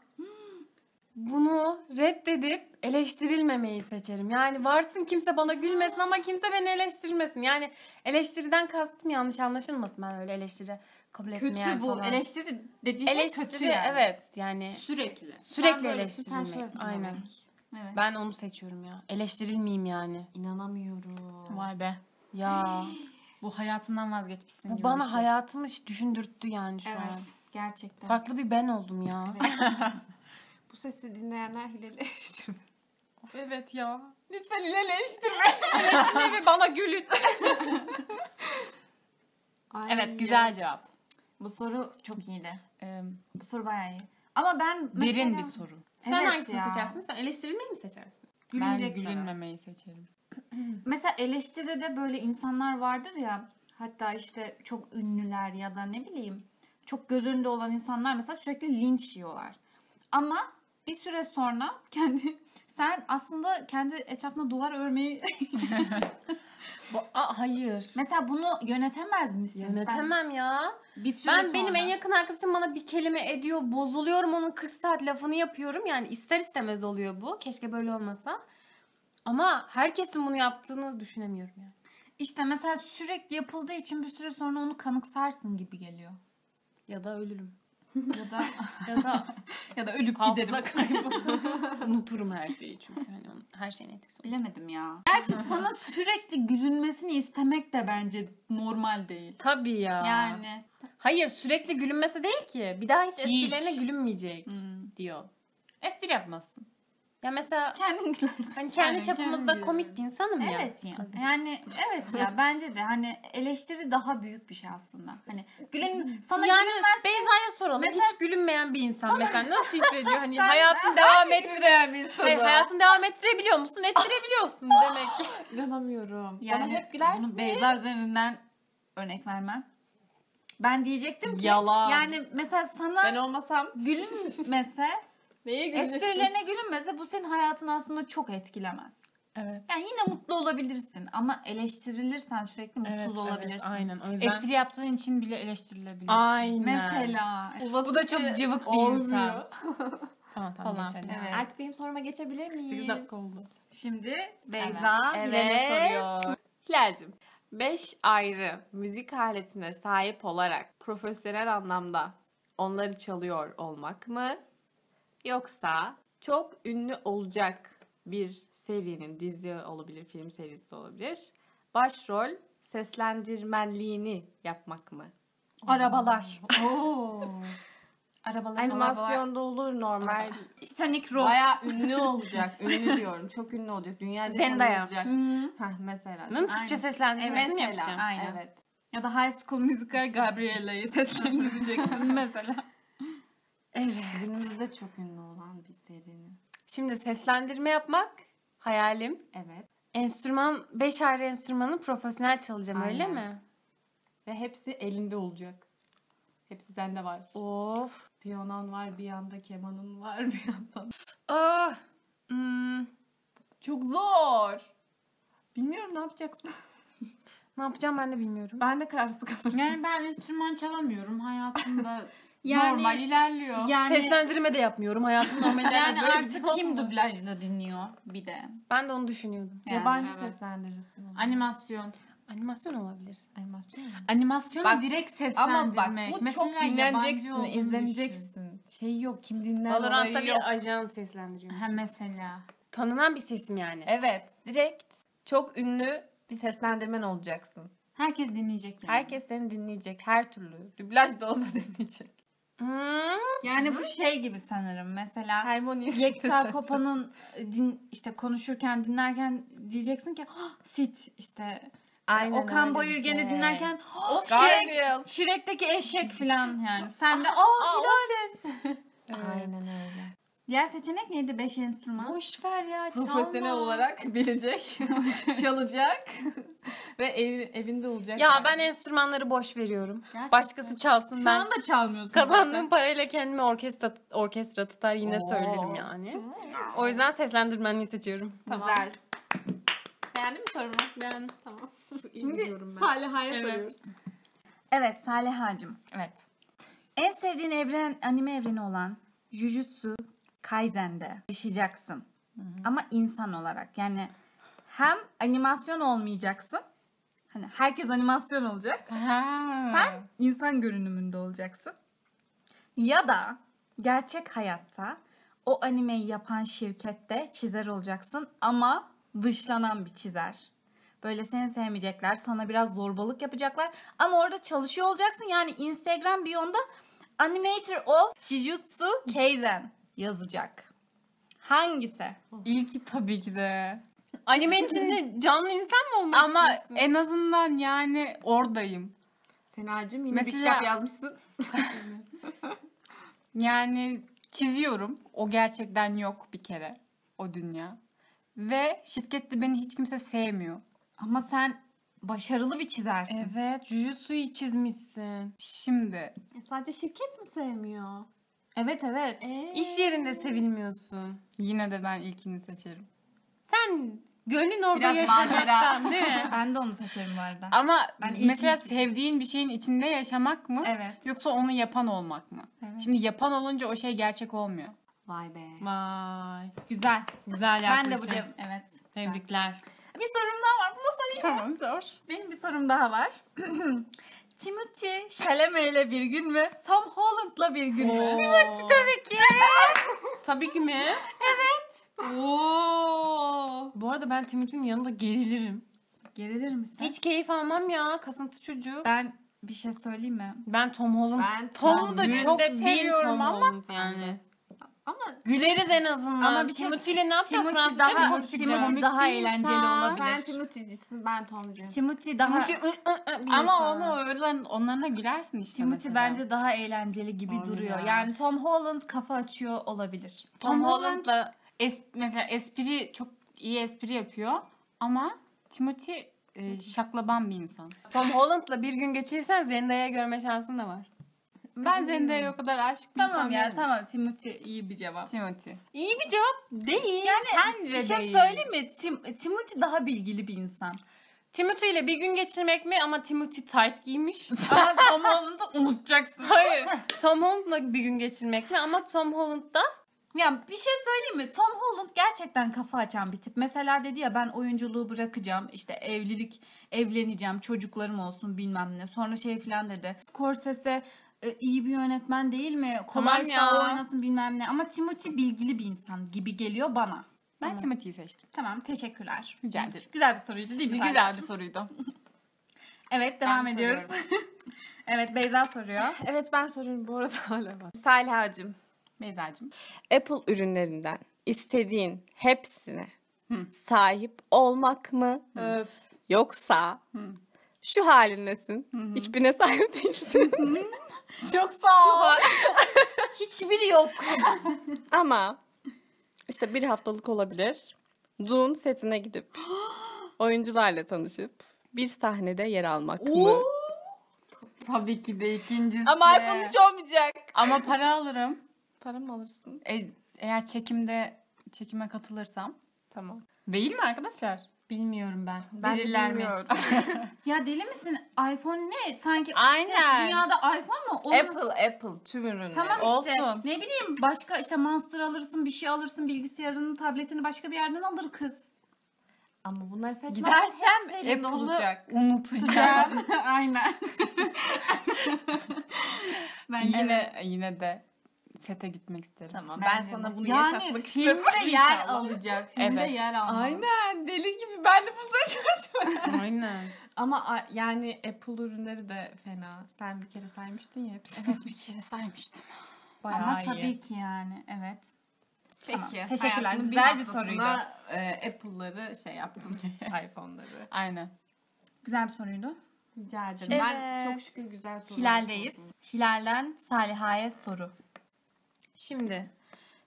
bunu reddedip eleştirilmemeyi seçerim. Yani varsın kimse bana gülmesin ama kimse beni eleştirmesin. Yani eleştiriden kastım yanlış anlaşılmasın. Ben öyle eleştiri kabul etmeyen Kötü bu. falan. Eleştiri dediği şey Eleştiri kötü yani. evet yani Sürekli. sürekli Sen böylesin, sen eleştirilmek. şöylesin Aynen. demek. Evet. Ben onu seçiyorum ya. Eleştirilmeyeyim yani. İnanamıyorum. Vay be. Ya Bu hayatından vazgeçmişsin bu gibi bana bir şey. hayatımı hiç düşündürttü yani şu Evet. an. Gerçekten. Farklı bir ben oldum ya. Bu sesi dinleyenler hileleştirme. Evet ya. Lütfen hileleştirme. Şimdi bir bana gülün. evet güzel cevap. Bu soru çok iyiydi. Ee, Bu soru bayağı iyi. Ama ben mesela... derin bir soru. Sen Evet hangisini ya. seçersin? Sen eleştirilmeyi mi seçersin? Gülünecek ben sana. gülünmemeyi seçerim. Mesela eleştiride böyle insanlar vardır ya hatta işte çok ünlüler ya da ne bileyim çok göz önünde olan insanlar mesela sürekli linç yiyorlar. Ama bir süre sonra *laughs* kendi sen aslında kendi etrafına duvar örmeyi *laughs* Aa, hayır. mesela bunu yönetemez misin? Yönetemem ya. Ben, bir süre Ben sonra- benim en yakın arkadaşım bana bir kelime ediyor. Bozuluyorum onun 40 saat lafını yapıyorum. Yani ister istemez oluyor bu. Keşke böyle olmasa. Ama herkesin bunu yaptığını düşünemiyorum yani. işte mesela sürekli yapıldığı için bir süre sonra onu kanıksarsın gibi geliyor. Ya da ölürüm. Ya da Ya da ya da ölüp hafıza kaybı. Unuturum her şeyi çünkü. Hani onun- her şeyin etkisi oluyor. Bilemedim ya. *laughs* Gerçi sana sürekli gülünmesini istemek de bence normal değil. Tabii ya. Yani Hayır sürekli gülünmesi değil ki. Bir daha hiç esprilerine Hiç. gülünmeyecek diyor. Espri yapmazsın. Ya mesela kendin gülersin. hani kendi Aynen, çapımızda kendi komik bir insanım ya. Evet ya. *laughs* Yani evet ya bence de hani eleştiri daha büyük bir şey aslında. Hani gülün sana yani gülün Beyza'ya soralım. Mesela- hiç gülünmeyen bir insan mesela nasıl hissediyor? Hani hayatın devam ettiren bir Hayır, hayatın devam ettirebiliyor musun? Ettirebiliyorsun demek. İnanamıyorum. yani Bana hep gülersin. Bunu Beyza üzerinden örnek vermem. Ben diyecektim ki Yalan. yani mesela sana Ben olmasam gülünmese neye güleceksin? esprilerine gülünmese bu senin hayatını aslında çok etkilemez. Evet. Yani yine mutlu olabilirsin ama eleştirilirsen sürekli mutsuz olabilirsin. aynen. O yüzden. Espri yaptığın için bile eleştirilebilirsin. Aynen. Mesela. Bu da çok cıvık bir insan. Falan, Falan. geçelim. Evet. Artık benim soruma geçebilir miyiz? 8 dakika oldu. Şimdi Beyza Evet. Hilal'e soruyor. Hilal'cim 5 ayrı müzik aletine sahip olarak profesyonel anlamda onları çalıyor olmak mı? Yoksa çok ünlü olacak bir serinin dizi olabilir, film serisi olabilir. Başrol seslendirmenliğini yapmak mı? *laughs* arabalar. Animasyonda olur normal. Titanic Rock. *laughs* Bayağı ünlü olacak. ünlü diyorum. Çok ünlü olacak. Dünyada Zendaya. olacak. Hı. Hah mesela. Bunun Aynen. Türkçe seslendirmesini Evet, mi Mesela, yapacağım? Aynen. Evet. Ya da High School Musical Gabriella'yı *laughs* seslendireceksin mesela. Günümüzde çok ünlü olan bir serinin. Şimdi seslendirme yapmak hayalim. Evet. Enstrüman, beş ayrı enstrümanı profesyonel çalacağım öyle Aynen. mi? Ve hepsi elinde olacak. Hepsi sende var. Of. Piyanon var bir yanda, kemanın var bir yandan. Ah. Hmm, Çok zor. Bilmiyorum ne yapacaksın. ne yapacağım ben de bilmiyorum. Ben de kararsız *laughs* kalırsın. Yani ben enstrüman çalamıyorum *laughs* hayatımda. Yani- normal ilerliyor. Yani, Seslendirme de yapmıyorum. Hayatım normal yani böyle bir artık cevap kim mı? dublajla dinliyor bir de. Ben de onu düşünüyordum. Yani. Yabancı evet. seslendirirsin. onu. Animasyon. Animasyon olabilir. Animasyon mu? Animasyonu Bak, direkt Ama seslendirmek. bak bu çok Mesela yabancı Dinleneceksin, olduğunu izleneceksin. Şey yok, kim dinler Valorant'ta olayı bir ajan seslendiriyor. düşün. Ha mesela. Tanınan bir sesim yani. Evet, direkt çok ünlü bir seslendirmen olacaksın. Herkes dinleyecek yani. Herkes seni *laughs* dinleyecek her türlü. Dublaj da olsa dinleyecek. Hmm. Yani bu şey gibi sanırım. Mesela Harmoni. Yekta Kopa'nın e, din, işte konuşurken dinlerken diyeceksin ki "Hah, sit işte E, Aynen Okan öyle bir Bayülgen'i şey. dinlerken o Şirek, Garfield. Şirek'teki eşek falan yani. *laughs* Sen de aa filan. Aynen öyle. Diğer seçenek neydi? Beş enstrüman. Boşver ya Profesyonel olarak bilecek, çalacak ve ev- evinde olacak. Ya ben enstrümanları boş veriyorum. Başkası çalsın Şu ben. anda çalmıyorsun. Kazandığım parayla kendime orkestra orkestra tutar yine Oo. söylerim yani. O yüzden seslendirmenliği seçiyorum. Tamam. Güzel. Beğendin mi sorumu? Beğendim tamam. Şimdi Saliha'ya *laughs* soruyoruz. Evet Saliha'cığım. Evet. En sevdiğin evren, anime evreni olan Jujutsu Kaisen'de yaşayacaksın. Ama insan olarak. Yani hem animasyon olmayacaksın. Hani herkes animasyon olacak. Sen insan görünümünde olacaksın. Ya da gerçek hayatta o animeyi yapan şirkette çizer olacaksın ama dışlanan bir çizer. Böyle seni sevmeyecekler, sana biraz zorbalık yapacaklar ama orada çalışıyor olacaksın. Yani Instagram biyonda Animator of Jujutsu Kaisen yazacak. Hangisi? İlki tabii ki de. Anime içinde canlı insan mı olmak Ama en azından yani oradayım. Senacığım yine bir Mesela- kitap yazmışsın. *laughs* Yani çiziyorum. O gerçekten yok bir kere. O dünya. Ve şirkette beni hiç kimse sevmiyor. Ama sen başarılı bir çizersin. Evet, Jujutsu'yu çizmişsin. Şimdi Sadece şirket mi sevmiyor? Evet evet. İş yerinde sevilmiyorsun. yine de ben ilkini seçerim. Sen gönlün orada Biraz yaşamaktan *laughs* değil mi? Ben de onu seçerim bu arada. Ama Ben ilkini mesela seçerim. sevdiğin bir şeyin içinde yaşamak mı? Evet. Yoksa onu yapan olmak mı? Evet. Şimdi yapan olunca o şey gerçek olmuyor. Vay be. Vay. Güzel. Güzel Ben de bu yaklaşım. cev- Evet. Tebrikler. Bir sorum daha var. Bu nasıl- Tamam zor. Benim bir sorum daha var. *clears throat* Timothy Chalamet ile bir gün mü? Tom Holland'la bir gün mü? Timothy tabii ki. Tabii ki mi? Oo. Bu arada ben Timuçin'in yanında gerilirim. Gerilir misin? Hiç keyif almam ya, kasıntı çocuk. Ben bir şey söyleyeyim mi? Ben Tom Holland Ben Tom'u da yüzde çok bin seviyorum Tom ama Holland yani. Ama Güleriz en azından. Ama bir şey- Timothy ile ne yapacağım? Timothy Fransızca daha- mı konuşacağım? Timothy daha Komik bir eğlenceli insan. olabilir. Sen Timuçin'cisin ben Tom'cuyum. Timothy daha Timothy- Bir Ama insan. onu öyle onlarına gülersin işte. Timothy mesela. bence daha eğlenceli gibi Aynen. duruyor. Yani Tom Holland kafa açıyor olabilir. Tom Tom Holland'la es- mesela espri çok iyi espri yapıyor ama Timothy e, şaklaban bir insan. Tom Holland'la bir gün geçirirsen Zendaya'yı görme şansın da var. Ben Zendaya'ya o kadar aşık bir insan Tamam ya değilim. tamam Timothy iyi bir cevap. Timothy. İyi bir cevap değil. Yani Sence bir şey değil. söyleyeyim mi? Tim- Timothy daha bilgili bir insan. Timothy ile bir gün geçirmek mi ama Timothy tight giymiş. Ama Tom Holland'ı unutacaksın. *laughs* Hayır. Tom Holland'la bir gün geçirmek mi ama Tom Holland da Ya bir şey söyleyeyim mi? Tom Holland gerçekten kafa açan bir tip. Mesela dedi ya ben oyunculuğu bırakacağım. işte evlilik, evleneceğim, çocuklarım olsun bilmem ne. Sonra şey falan dedi. Scorsese e, iyi bir yönetmen değil mi? Kolaysa ya. o oynasın bilmem ne. Ama Timothy bilgili bir insan gibi geliyor bana. Ben Timothy'yi seçtim. Tamam teşekkürler. Rica ederim. Güzel bir soruydu değil mi? Güzel Serhat? bir soruydu. Evet devam Ben ediyoruz. *laughs* evet Beyza soruyor. Evet ben soruyorum bu arada hala var. Saliha'cığım. *laughs* Beyza'cığım. Apple ürünlerinden istediğin hepsine sahip olmak mı? Yoksa şu halindesin. Hiçbirine sahip değilsin. Çok sağ ol. Hiçbiri yok. Ama işte bir haftalık olabilir. Zoom setine gidip *gasps* oyuncularla tanışıp bir sahnede yer almak mı? *laughs* Tabii ki de ikincisi. Ama iPhone hiç olmayacak. Ama para alırım. Para mı alırsın? E, eğer çekimde çekime katılırsam. Tamam. Değil mi arkadaşlar? bilmiyorum ben. Ben de Verirler mi? *laughs* bilmiyorum. Ya deli misin? iPhone ne? Sanki Aynen. dünyada iPhone mu? Onun- Apple, Apple tüm ürünleri. Tamam işte. Olsun. Ne bileyim başka işte Monster alırsın, bir şey alırsın, bilgisayarını, tabletini başka bir yerden alır kız. Ama bunları seçmem. Gidersem *laughs* Apple'ı olacak. Unutacağım. Aynen. ben yine yine de sete gitmek isterim. Tamam. Ben Ben, de sana mi? bunu Yani yaşatmak filmde istedim. yer alacak. Filmde Evet. yer almalı. Aynen deli gibi ben de bu seçeceğim. Aynen. Ama a- yani Apple ürünleri de fena. Sen bir kere saymıştın ya hepsini. Evet bir kere saymıştım. Bayağı Ama iyi. tabii ki yani evet. Peki. Tamam, teşekkürler. hayatının Güzel bir haftasına, soruydu. E, Apple'ları şey *laughs* yaptın. iPhone'ları. Aynen. Güzel bir soruydu. Rica ederim. Ben çok şükür güzel sorular Hilal'deyiz. sordum. Hilal'den Saliha'ya soru. Şimdi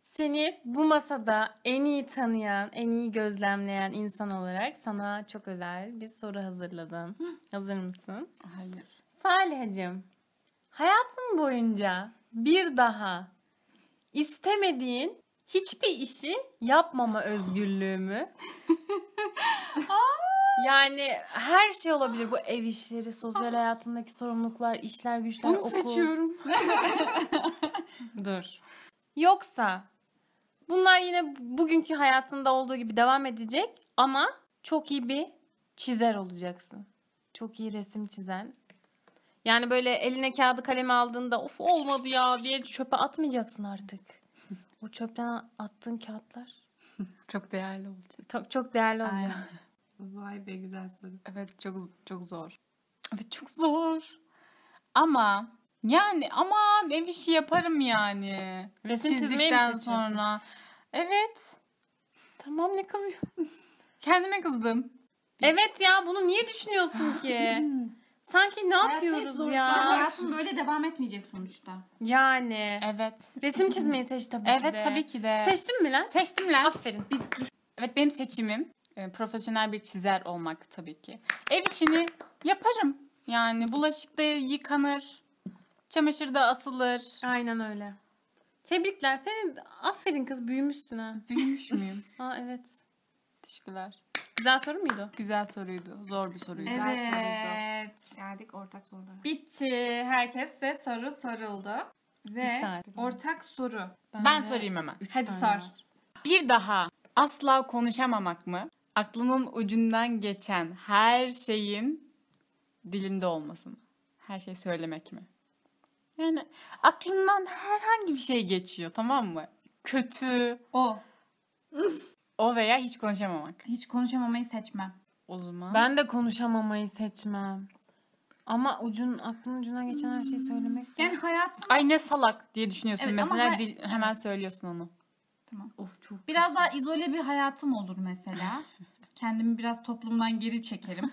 seni bu masada en iyi tanıyan, en iyi gözlemleyen insan olarak sana çok özel bir soru hazırladım. Hazır mısın? Hayır. Salih'cim, hayatın boyunca bir daha istemediğin hiçbir işi *laughs* yapmama özgürlüğümü yani her şey olabilir bu ev işleri, sosyal hayatındaki sorumluluklar, işler, güçler, Ah. Bunu okul. seçiyorum. *laughs* Dur. Yoksa bunlar yine bugünkü hayatında olduğu gibi devam edecek ama çok iyi bir çizer olacaksın. Çok iyi resim çizen. Yani böyle eline kağıdı kalemi aldığında of olmadı ya diye çöpe atmayacaksın *laughs* artık. O çöpten attığın kağıtlar Çok değerli olacak. çok, çok değerli olacak. Vay be güzel soru. Evet çok çok zor. Evet çok zor. Ama yani aman ev işi yaparım yani. Resim çizmeyi mi Çizdikten seçiyorsun? sonra. Evet. Tamam ne kızıyorsun? Kendime kızdım. *laughs* Evet ya bunu niye düşünüyorsun *laughs* ki? Sanki ne yapıyoruz ya? Hayatın böyle devam etmeyecek sonuçta. Yani Evet. resim çizmeyi seç tabii ki Evet de. tabii ki de. Seçtin mi lan? Seçtim lan. Aferin. Evet benim seçimim e, profesyonel bir çizer olmak tabii ki. Ev işini yaparım. Yani bulaşık da yıkanır. Çamaşır da asılır. Aynen öyle. Tebrikler. Senin aferin kız büyümüşsün ha. Büyümüş *laughs* müyüm? Aa evet. Teşekkürler. Güzel soru muydu? Güzel soruydu. Zor bir soruydu. Evet. Geldik ortak sorulara. Bitti. Herkese soru soruldu. Ve Bir saat. ortak soru. Ben, sorayım hemen. Hadi sor. Bir daha asla konuşamamak mı? Aklının ucundan geçen her şeyin dilinde olması mı? Her şeyi söylemek mi? Yani aklından herhangi bir şey geçiyor tamam mı? Kötü, O. o veya hiç konuşamamak. Hiç konuşamamayı seçmem. O zaman Ben de konuşamamayı seçmem. Ama ucun aklın ucuna geçen her şeyi söylemek. Yani hayatın ay ne salak diye düşünüyorsun. Evet, ama Mesela hay- dil- hemen söylüyorsun onu. Of çok. biraz daha izole bir hayatım olur mesela. Kendimi biraz toplumdan geri çekerim.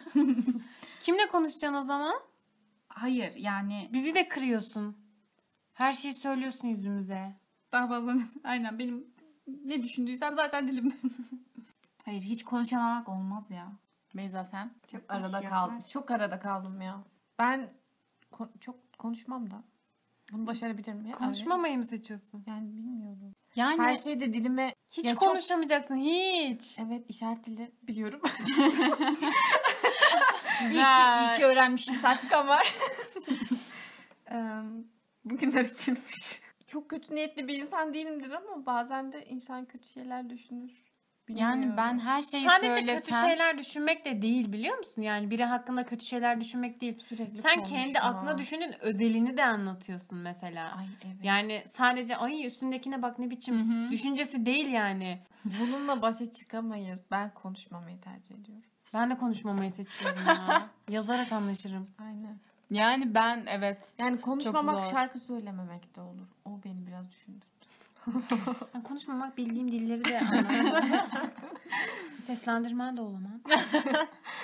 Kimle konuşacaksın o zaman? Hayır yani Bizi de kırıyorsun. Her şeyi söylüyorsun yüzümüze. daha fazla *laughs* aynen benim ne düşündüysem zaten dilimde. *laughs* Hayır hiç konuşamamak olmaz ya. Beyza sen? Çok boş arada ya, kaldım. boş. Çok arada kaldım ya. Ben kon- çok konuşmam da. Bunu başarabilirim ya. Konuşmamayı mı seçiyorsun? Yani bilmiyorum. Yani Her şeyde dilime hiç Ya çok- konuşamayacaksın hiç. evet işaret dili *laughs* biliyorum. İyi ki, iyi ki öğrenmişim Sertika var. *laughs* Em, Bugünler içinmiş. Çok kötü niyetli bir insan değilimdir ama bazen de insan kötü şeyler düşünür. Yani Bilmiyorum. şey- ben her şeyi Sadece söylesem... kötü şeyler düşünmek de değil biliyor musun? Yani biri hakkında kötü şeyler düşünmek değil. sürekli Sen kendi konuşma. aklına düşünün özelini de anlatıyorsun mesela. Ay evet. Yani sadece ay üstündekine bak ne biçim Hı hı. düşüncesi değil yani. Bununla başa çıkamayız. Ben konuşmamayı tercih ediyorum. Ben de konuşmamayı seçiyorum *laughs* ya. Yazarak anlaşırım. Aynen. Yani ben evet. Yani konuşmamak zor. şarkı söylememek de olur. O beni biraz düşündü. Ben konuşmamak bildiğim *laughs* dilleri de anlarım. Seslendirmen de olamam.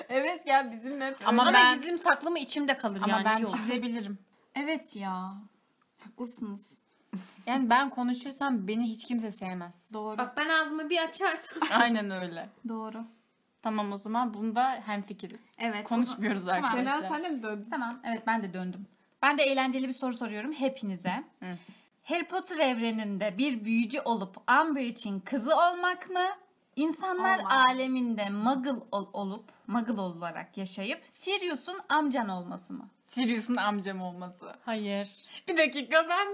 Evet ya bizim hep Ama Ama, ben- gizlim saklı mı içimde kalır Ama yani. ben yok. çizebilirim. Evet ya. Haklısınız. Yani ben konuşursam beni hiç kimse sevmez. Doğru. Bak ben ağzımı bir açarsam. *laughs* Aynen öyle. Doğru. Tamam o zaman bunda hemfikiriz. Evet. o zaman- Konuşmuyoruz arkadaşlar. senle mi döndün? Tamam. Evet ben de döndüm. Ben de eğlenceli bir soru soruyorum hepinize. Hı. Harry Potter evreninde bir büyücü olup Umbridge'in kızı olmak mı? İnsanlar Olmak. aleminde muggle ol- olup, muggle olarak yaşayıp Sirius'un amcan olması mı? Sirius'un amcam olması. *laughs* *laughs* Hayır. Bir dakika ben.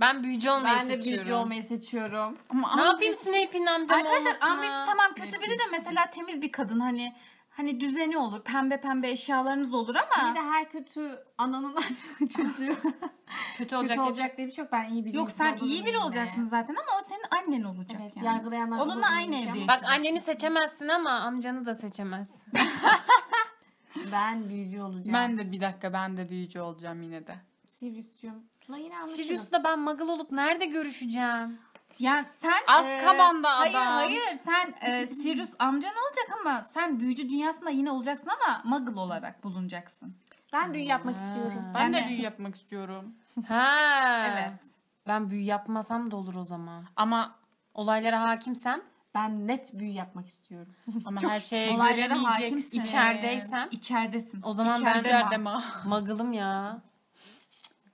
Ben büyücü olmayı Ben de seçiyorum. büyücü olmayı seçiyorum. Ama Ne yapayım Snape'in amcam Arkadaşlar olmasına? Umbridge tamam kötü biri de mesela temiz bir kadın hani hani düzeni olur. Pembe pembe eşyalarınız olur ama Bir de her kötü ananın çocuğu Kötü olacak. olacak, olacak diye bir şey yok. Ben iyi biriyim. yok sen olduğunu iyi biri bilmeye. olacaksın zaten ama o senin annen olacak Evet, yani. yargılayanlar Onunla olduğunu aynı bileceğim. evde Bak anneni seçemezsin ama amcanı da seçemezsin. Ben büyücü olacağım. Ben de bir dakika ben de büyücü olacağım yine de. Sirius'cum. Tuna yine anlaşırız. Sirius'la ben muggle olup nerede görüşeceğim? Yani sen Azkaban'da Ee, hayır adam. hayır sen e, Sirius amcan olacak ama sen büyücü dünyasında yine olacaksın ama muggle olarak bulunacaksın. Ben büyü yapmak istiyorum. Ben Yani- de büyü yapmak istiyorum. Ha. Evet. Ben büyü yapmasam da olur o zaman. Ama Olaylara hakimsem, Ben net büyü *laughs* yapmak istiyorum. ama her şeye olaylara göremeyecek. hakimsin. içerideysem İçeridesin. o zaman ben İçeride de mi? ma. muggle'ım ya.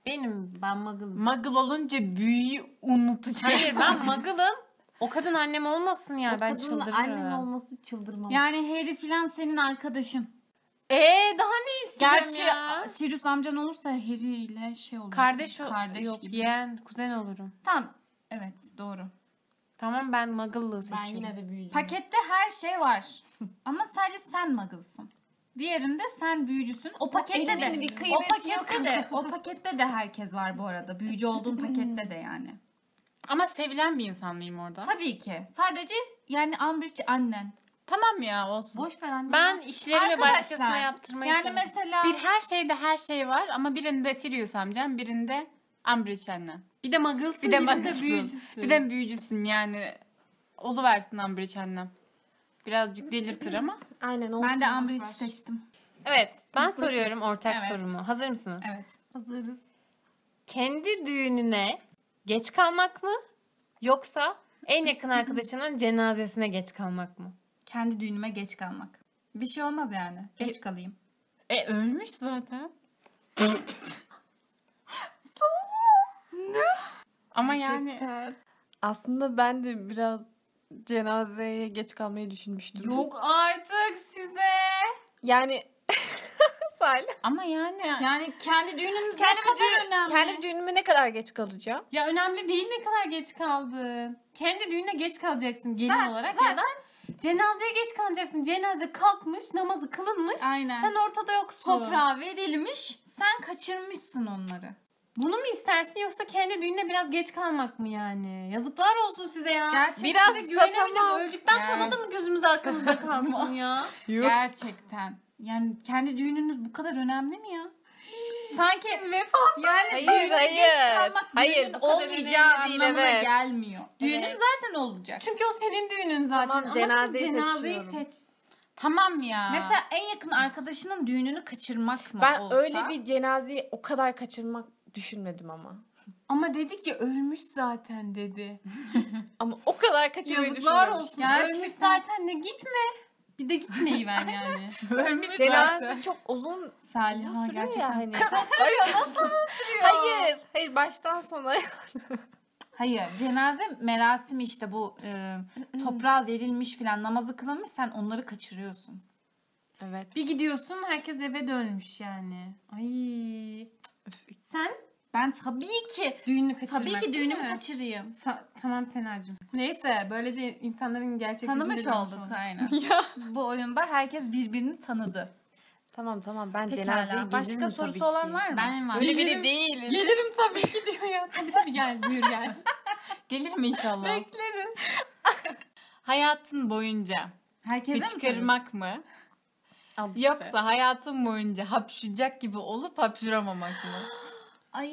Benim ben muggle'ım. Muggle olunca büyüyü unutacak. Hayır *laughs* ben muggle'ım. O kadın annem olmasın ya ben Kadının çıldırırım. annem olması çıldırmalı. Yani Harry filan senin arkadaşın. Ee daha ne isteyeceğim Gerçi ya? Sirius amcan olursa Harry ile şey olur. Kardeş, ol- Kardeş yok gibi. yeğen kuzen olurum. Tamam. Evet doğru. Tamam ben muggle'lığı ben seçiyorum. yine de büyücüyüm. Pakette her şey var. *laughs* Ama sadece sen muggle'sın. Diğerinde sen büyücüsün. O pakette de elimin bir o kıymeti pakette de o pakette de herkes var bu arada. Büyücü *laughs* olduğun pakette de yani. Ama sevilen bir insan mıyım orada? Tabii ki. Sadece yani Umbridge annen. Tamam ya olsun. Boş ver anne. Ben işlerimi Arkadaşlar, başkasına yaptırmayı Yani seviyorum. mesela Bir her şeyde her şey var ama birinde Sirius amcam, birinde Umbridge annen. Bir de Muggle'sın, bir de, muggle'sın. büyücüsün. Bir de büyücüsün yani. Oluversin Umbridge annem. Birazcık delirtir ama. Aynen olsun. ben de boş Umbridge ver. seçtim. Evet ben soruyorum ortak Evet. sorumu. Hazır mısınız? Evet. Hazırız. Kendi düğününe geç kalmak mı? Yoksa en yakın arkadaşının cenazesine geç kalmak mı? Kendi düğünüme geç kalmak. Bir şey olmaz yani. Geç kalayım. E ölmüş *laughs* zaten. ama yani Aslında ben de biraz cenazeye geç kalmayı düşünmüştüm. Yok artık size. Yani ama yani Yani kendi düğünümüz Kendi ne kadar önemli. Kendi düğünüme ne kadar geç kalacağım? Ya önemli değil ne kadar geç kaldın. Kendi düğününe geç kalacaksın gelin olarak ya da cenazeye geç kalacaksın. Cenaze kalkmış, namazı kılınmış. Aynen. Sen ortada yoksun. toprağa verilmiş. Sen kaçırmışsın onları. Bunu mu istersin yoksa kendi düğününe biraz geç kalmak mı yani? Yazıklar olsun size ya. Gerçekten Biraz de güvenemeyeceğiz. satamam. Öldükten sonra Yani. da mı *laughs* gözümüz arkamızda kalsın ya? Gerçekten. Yani kendi düğününüz bu kadar önemli mi ya? Sanki yani Hayır, düğüne geç hayır. kalmak Hayır, düğünün bu kadar olmayacağı önemli değil, anlamına evet. gelmiyor. Düğünün Evet. zaten olacak. Çünkü o senin düğünün zaten. Tamam, Ama cenazeyi sen cenazeyi seçiyorum. seç. tamam ya. Mesela en yakın arkadaşının düğününü kaçırmak mı Ben olsa? öyle bir cenazeyi o kadar kaçırmak düşünmedim ama. Ama dedi ki ölmüş zaten dedi. *laughs* Ama o kadar kaçırmayı Yazıklar düşünmemiştim. olsun. Gerçekten. Ölmüş zaten ne gitme. Bir de gitmeyi *laughs* ver yani. ölmüş Cenaze çok uzun Saliha sürüyor gerçekten. ya hani. Hayır. Hayır baştan sona. Hayır cenaze merasimi işte bu e, toprağa verilmiş filan namazı kılınmış sen onları kaçırıyorsun. Evet. Bir gidiyorsun herkes eve dönmüş yani. Ay. Sen Ben tabii ki düğünü kaçırmak. tabii ki değil düğünümü mi? kaçırayım. Sa- tamam Senacığım. Neyse böylece insanların gerçek Tanımış yüzünü de olduk aynen. *laughs* Bu oyunda herkes birbirini tanıdı. Tamam tamam ben Pekala. cenazeye Başka sorusu olan var mı? Ben var. Öyle biri değilim. Gelirim tabii ki diyor ya. Tabii tabii gel buyur gel. *laughs* gelirim inşallah. Bekleriz. Hayatın boyunca Herkese mi soruyorsun? hıçkırmak mı? Yoksa hayatın boyunca hapşıracak gibi olup hapşıramamak mı? Ay.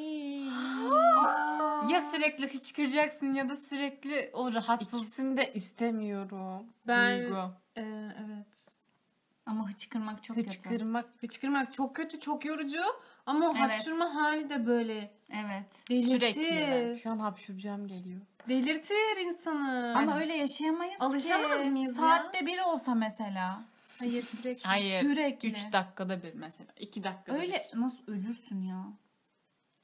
Ya sürekli hıçkıracaksın ya da sürekli o rahatsız İkisini de istemiyorum. Ben duygu. Ee, evet. Ama hıçkırmak çok kötü. Hıçkırmak. Hıçkırmak çok kötü, çok yorucu ama o Evet. hapşırma hali de böyle Evet. delirtir. Şu an hapşuracağım geliyor. Delirtir insanı. Ama öyle yaşayamayız Alışamaz ki. mıyız ya? Saatte biri olsa mesela. hayır sürekli. Hayır. Sürekli. 3 dakikada bir mesela. 2 dakikada Öyle nasıl ölürsün ya?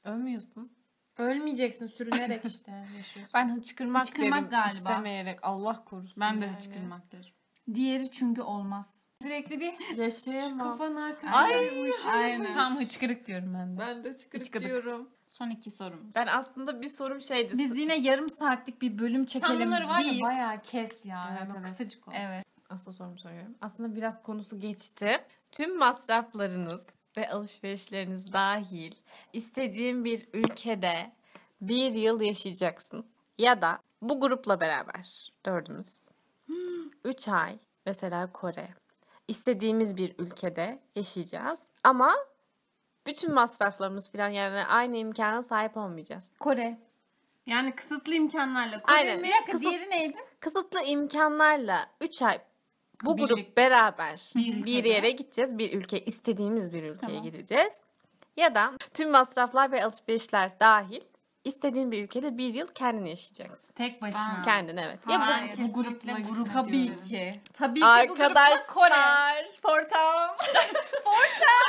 Ölmüyorsun. Ölmeyeceksin sürünerek işte yaşıyorsun. Ben hıçkırmak, Hıçkırmak derim galiba. istemeyerek. Allah korusun. bir. Ben de yani. hıçkırmak derim. Diğeri çünkü olmaz. Sürekli bir Yaşayamam. kafanın arkasında Ay, bir uyuşuk. Tam hıçkırık diyorum ben de. Ben de hıçkırık Hıçkırık. diyorum. Son iki sorum. Ben aslında bir sorum şeydi. Biz yine yarım saatlik bir bölüm çekelim. Tam bunları var ya deyip- bayağı kes ya. Evet, Yani o evet. kısacık olsun. Evet. Aslında sorumu soruyorum. Aslında biraz konusu geçti. Tüm masraflarınız ve alışverişleriniz dahil istediğin bir ülkede bir yıl yaşayacaksın. Ya da bu grupla beraber dördümüz. Üç ay mesela Kore. İstediğimiz bir ülkede yaşayacağız ama bütün masraflarımız falan yani aynı imkana sahip olmayacağız. Kore. Yani kısıtlı imkanlarla. Kore Aynen. mi? Kısıt- diğeri neydi? kısıtlı imkanlarla 3 ay bu grup beraber bir, yere gideceğiz. Bir ülke istediğimiz bir ülkeye gideceğiz. Ya da tüm masraflar ve alışverişler dahil istediğin bir ülkede bir yıl kendin yaşayacaksın. Tek başına. Kendin evet. Ya bu- Hayır, bu grupla grup Tabii diyorum. ki. Tabii ki bu grupla Kore. Arkadaşlar, *laughs* portam.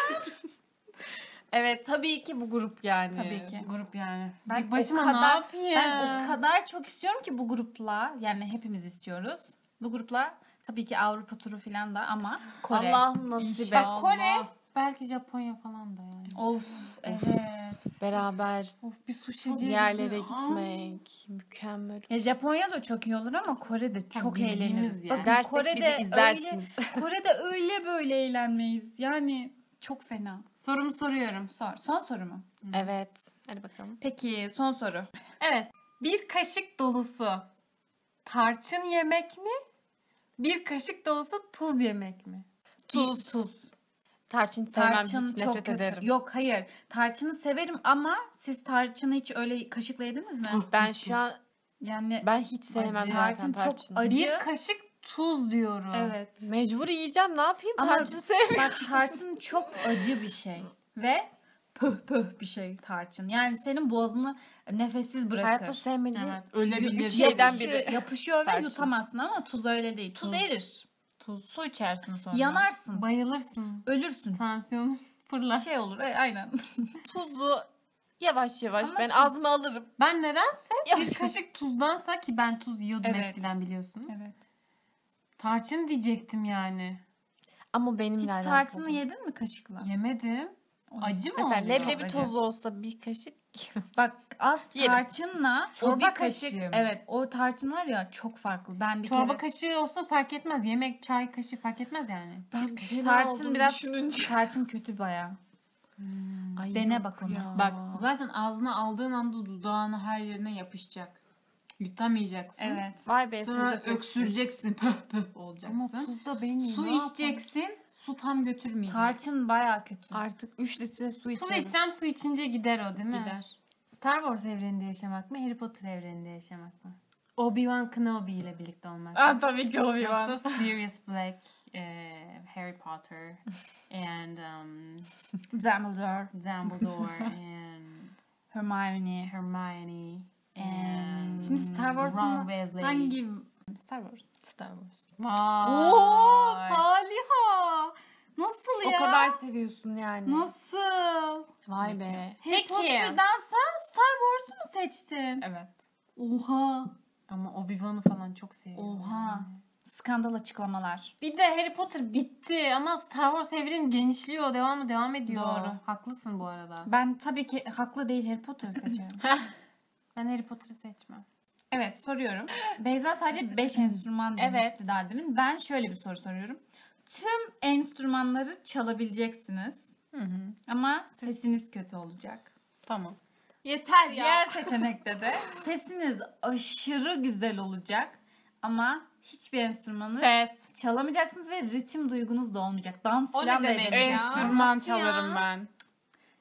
*laughs* evet, tabii ki bu grup yani. Tabii ki. Grup yani. Ben o başıma ne kadar, yapayım? ben o kadar çok istiyorum ki bu grupla yani hepimiz istiyoruz. Bu grupla tabii ki Avrupa turu falan da ama Kore. Allah'ım nasip et. Bak Kore. Belki Japonya falan da yani. Of evet. Beraber Of bir sushi yerlere gitmek mükemmel. Ya Japonya da çok iyi olur ama Kore de çok bildiğimiz eğleniriz. yani. Bakın Dersek Kore'de bizi öyle izlersiniz. *laughs* Kore'de öyle böyle eğlenmeyiz. Yani çok fena. Sorumu soruyorum. Sor. Son soru mu? evet. Hadi bakalım. Peki son soru. Evet. Bir kaşık dolusu tarçın yemek mi? Bir kaşık dolusu tuz yemek mi? Tuz. Tuz. Tarçın sevmem Tarçın hiç çok nefret kötü. ederim. Yok hayır. Tarçını severim ama siz tarçını hiç öyle kaşıkla yediniz mi? Ben şu an Yani ben hiç sevmem tarçın, zaten çok tarçın. acı. Bir kaşık tuz diyorum. *laughs* evet. Mecbur yiyeceğim ne yapayım Ama- tarçın sevmiyorum. Bak tarçın çok acı bir şey ve pöh pöh bir şey tarçın. Yani senin boğazını nefessiz bırakır. Hayatta sevmediğim Evet. Üç Ölebilir. şeyden yapışı- biri. Yapışıyor ve Tarçın. yutamazsın ama tuz öyle değil. Tuz, Tuz. erir. Tuz, su içersin sonra. Yanarsın. Bayılırsın. Ölürsün. Tansiyonun *laughs* fırlar. Şey olur. e, aynen. tuzu yavaş yavaş Ama ben tuz- ağzıma alırım. Ben nedense bir Yavaş. kaşık tuzdansa ki ben tuz yiyordum Evet. eskiden biliyorsunuz. evet. Tarçın diyecektim yani. Ama benimle Hiç alakalı. tarçını yedin mi kaşıkla? Yemedim. Of. Acı mı Mesela oluyor? leblebi acı. tozu olsa bir kaşık. Bak az Yerim. tarçınla o Çorba bir kaşık. kaşığı mı? Evet o tarçın var ya çok farklı. Ben bir Çorba kere kaşığı olsun fark etmez. Yemek, çay kaşığı fark etmez yani. Ben bir şey tarçın biraz tarçın kötü baya. dene bak onu. Bak zaten ağzına aldığın anda dudağına her yerine yapışacak. Yutamayacaksın. Evet. Vay be Sonra siz de öksür. öksüreceksin. *laughs* Pöh pöh olacaksın. tuz da benim. su içeceksin. Su tam götürmeyecek. Tarçın baya kötü. Artık 3 litre su Su Şey içerim. içsem su içince gider o değil mi? Gider. Star Wars evreninde yaşamak mı? Harry Potter evreninde yaşamak mı? Obi-Wan Kenobi ile birlikte olmak mı? Aa, tabii ki Obi-Wan. Yoksa Sirius Black, eh, Harry Potter and um, Dumbledore, Dumbledore and Hermione. Hermione And- and Şimdi Star Wars'un hangi Star Wars? Star Wars. Vay. Oo, Saliha. Nasıl O kadar seviyorsun yani. Nasıl? Vay be. Harry Peki. Potter'dansa Star Wars'u mu seçtin? Evet. Oha. Ama Obi-Wan'ı falan çok seviyorum. Oha. Skandal açıklamalar. Bir de Harry Potter bitti ama Star Wars evreni genişliyor. Devamı devam ediyor. Doğru. Haklısın bu arada. Ben tabii ki haklı değil Harry Potter'ı seçerim. Ben Harry Potter'ı seçmem. evet soruyorum. Beyza sadece 5 enstrüman demişti daha demin. Ben şöyle bir soru soruyorum. Tüm enstrümanları çalabileceksiniz. Ama sesiniz kötü olacak. Tamam. Yeter Diğer seçenekte de sesiniz aşırı güzel olacak ama hiçbir enstrümanı Ses. çalamayacaksınız ve ritim duygunuz da olmayacak. Dans O ne falan da demek ya? edemeyeceksiniz. Enstrüman Nasıl ya? çalarım ben.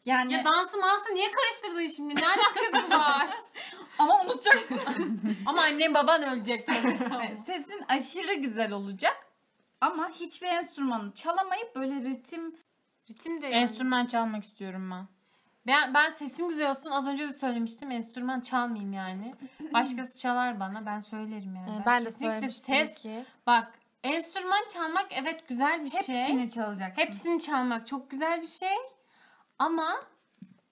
Yani Ya dansı mansı niye karıştırdın şimdi? Ne *laughs* alakası var? ama unutacak. *laughs* ama annem baban ölecek. Sesin aşırı güzel olacak ama hiçbir enstrümanı çalamayıp böyle ritim Ritim de Enstrüman çalmak istiyorum ben. Ben, ben sesim güzel olsun. Az önce de söylemiştim. Enstrüman çalmayayım yani. Başkası çalar bana. Ben söylerim yani. Ee, Ben de kesinlikle söylemiştim ses- ki. Bak enstrüman çalmak evet güzel bir şey. hepsini çalacaksın. Hepsini çalmak çok güzel bir şey. Ama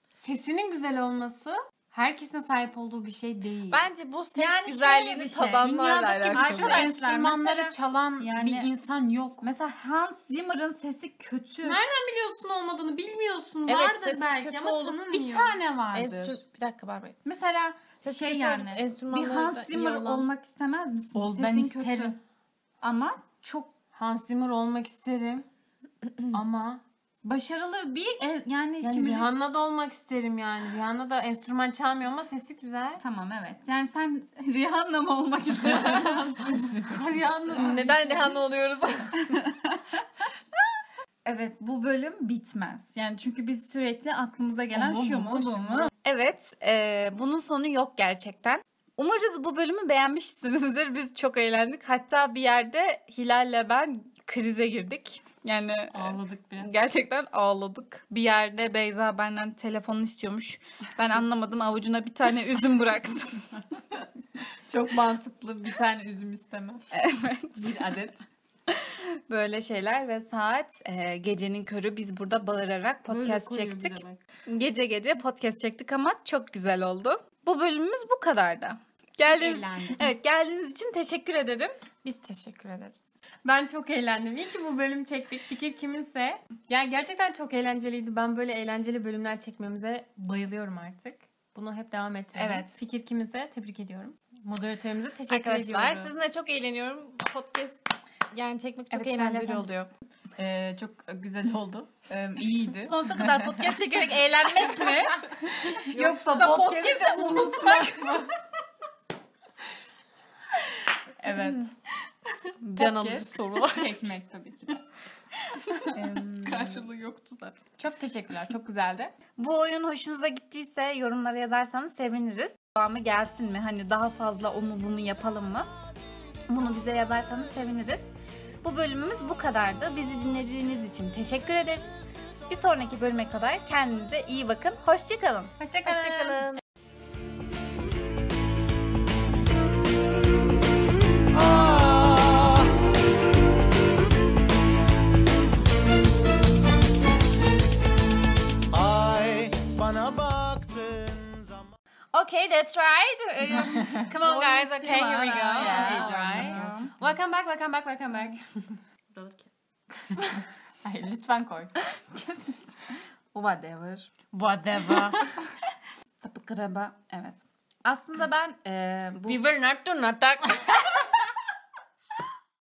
sesinin güzel olması herkesin sahip olduğu bir şey değil. Bence bu ses Yani şöyle bir güzelliğini şey, tadanlarla Dünyadaki alakalı. bütün Arkadaşlar, enstrümanları mesela- çalan Yani- bir insan yok. Mesela Hans Zimmer'ın sesi kötü. Nerede? Biliyorsun olmadığını bilmiyorsun. Evet, vardır sesi belki kötü ama olup tanınmıyor. bir Bir tane vardır. Enstrü- Bir dakika bağırmayın. Mesela Ses şey kötü yani olup bir enstrümanları da Hans iyi Zimmer olan- olmak istemez misin? Ol, Sesin ben kötü. isterim. Ama çok Hans Zimmer olmak isterim. *clears throat* Ama Başarılı bir e, yani, yani şimdi Rihanna da olmak isterim yani. Rihanna da enstrüman çalmıyor ama sesi güzel. Tamam evet. Yani *laughs* sen Rihanna mı olmak istiyorsun? Rihanna da Neden Rehan'la oluyoruz? evet bu bölüm bitmez. Yani çünkü biz sürekli aklımıza gelen O mu, şu bu mu, mu bu şu mu? Evet, e, bunun sonu yok gerçekten. Umarız bu bölümü beğenmişsinizdir. Biz çok eğlendik. Hatta bir yerde Hilal'le ben krize girdik. Yani e, ağladık biraz. gerçekten ağladık. Bir yerde Beyza benden telefonu istiyormuş. Ben anlamadım avucuna bir tane üzüm bıraktım. *laughs* Çok mantıklı. Bir tane üzüm *laughs* istemem. Evet. Bir adet. Böyle şeyler ve saat e, gecenin körü biz burada bağırarak podcast çektik. Gece gece podcast çektik ama çok güzel oldu. Bu bölümümüz bu kadardı. Geldiğiniz, evet, geldiğiniz için teşekkür ederim. Biz teşekkür ederiz. Ben çok eğlendim. İyi ki bu bölüm çektik. Fikir kiminse. Yani gerçekten çok eğlenceliydi. Ben böyle eğlenceli bölümler çekmemize bayılıyorum artık. Bunu hep devam ettirelim. Evet. Fikir kiminse tebrik ediyorum. Moderatörümüze teşekkür Arkadaşlar ediyorum. sizinle çok eğleniyorum. Podcast yani çekmek çok Evet, eğlenceli sen- oluyor. Ee, çok güzel oldu. Ee, *laughs* iyiydi. Sonsuza kadar podcast çekerek eğlenmek mi? Yoksa Podcast'ı unutmak. Evet. *laughs* Can Podcast. alıcı sorular. Çekmek tabii ki. de. Karşılığı yoktu zaten. Çok teşekkürler. Çok güzeldi. Bu oyun hoşunuza gittiyse yorumlara yazarsanız seviniriz. Devamı gelsin mi? Hani daha fazla o mu bunu yapalım mı? Bunu bize yazarsanız seviniriz. Bu bölümümüz bu kadardı. Bizi dinlediğiniz için teşekkür ederiz. Bir sonraki bölüme kadar kendinize iyi bakın. Hoşçakalın. Hoşçakalın. Hoşçakalın. Ay bana baktığın zaman Okay, that's right. Um, Come on guys, okay here we go. Yeah. Alright. Welcome back, welcome back, welcome back. Hayır lütfen koy. Whatever. *laughs* Whatever. Sapık araba. Evet. Aslında ben e, bu... We will not do not talk.